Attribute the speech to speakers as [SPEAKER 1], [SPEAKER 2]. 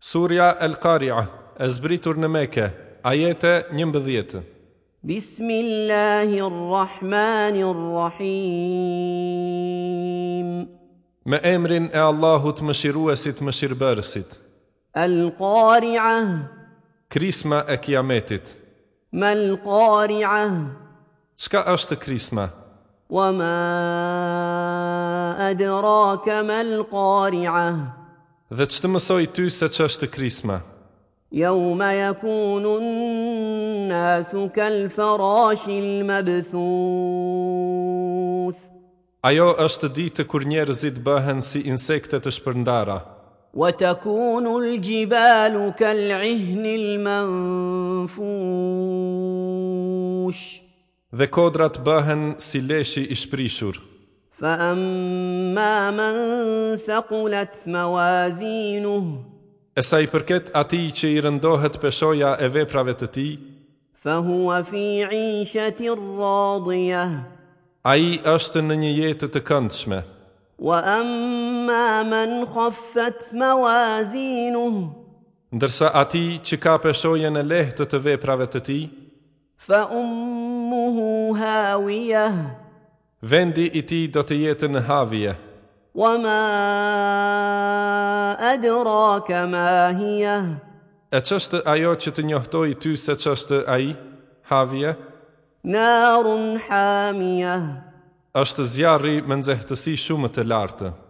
[SPEAKER 1] Surja El Qaria, e zbritur në Mekë, ajete 11.
[SPEAKER 2] بسم الله الرحمن الرحيم
[SPEAKER 1] Me emrin e Allahut mëshiruesit mëshirbërësit,
[SPEAKER 2] القارعة
[SPEAKER 1] krisma e kiametit.
[SPEAKER 2] ما القارعة
[SPEAKER 1] Çka është krisma?
[SPEAKER 2] وما أدراك ما القارعة
[SPEAKER 1] Dhe që të mësoj ty se që është krisma?
[SPEAKER 2] يوم يكون الناس كالفراش المبثوث
[SPEAKER 1] Ajo është ditë kur njerëzit bëhen si insekte të shpërndara,
[SPEAKER 2] وتكون الجبال كالعهن المنفوش
[SPEAKER 1] dhe kodrat bëhen si leshi i shprishur.
[SPEAKER 2] فأما من ثقلت موازينه
[SPEAKER 1] E sa i përket ati që i rëndohet peshoja e veprave të ti,
[SPEAKER 2] فهو في عيشة راضية
[SPEAKER 1] a i është në një jetë të këndshme.
[SPEAKER 2] وأما من خفت موازينه
[SPEAKER 1] Ndërsa ati që ka peshojen e lehtë të veprave të ti,
[SPEAKER 2] فأمه هاوية
[SPEAKER 1] vendi i ti do të jetë në havje.
[SPEAKER 2] وما أدراك ما هي
[SPEAKER 1] E qështë ajo që të njohtoj ty se qështë a i, havje,
[SPEAKER 2] نار حامية
[SPEAKER 1] është zjarri me nxehtësi shumë të lartë.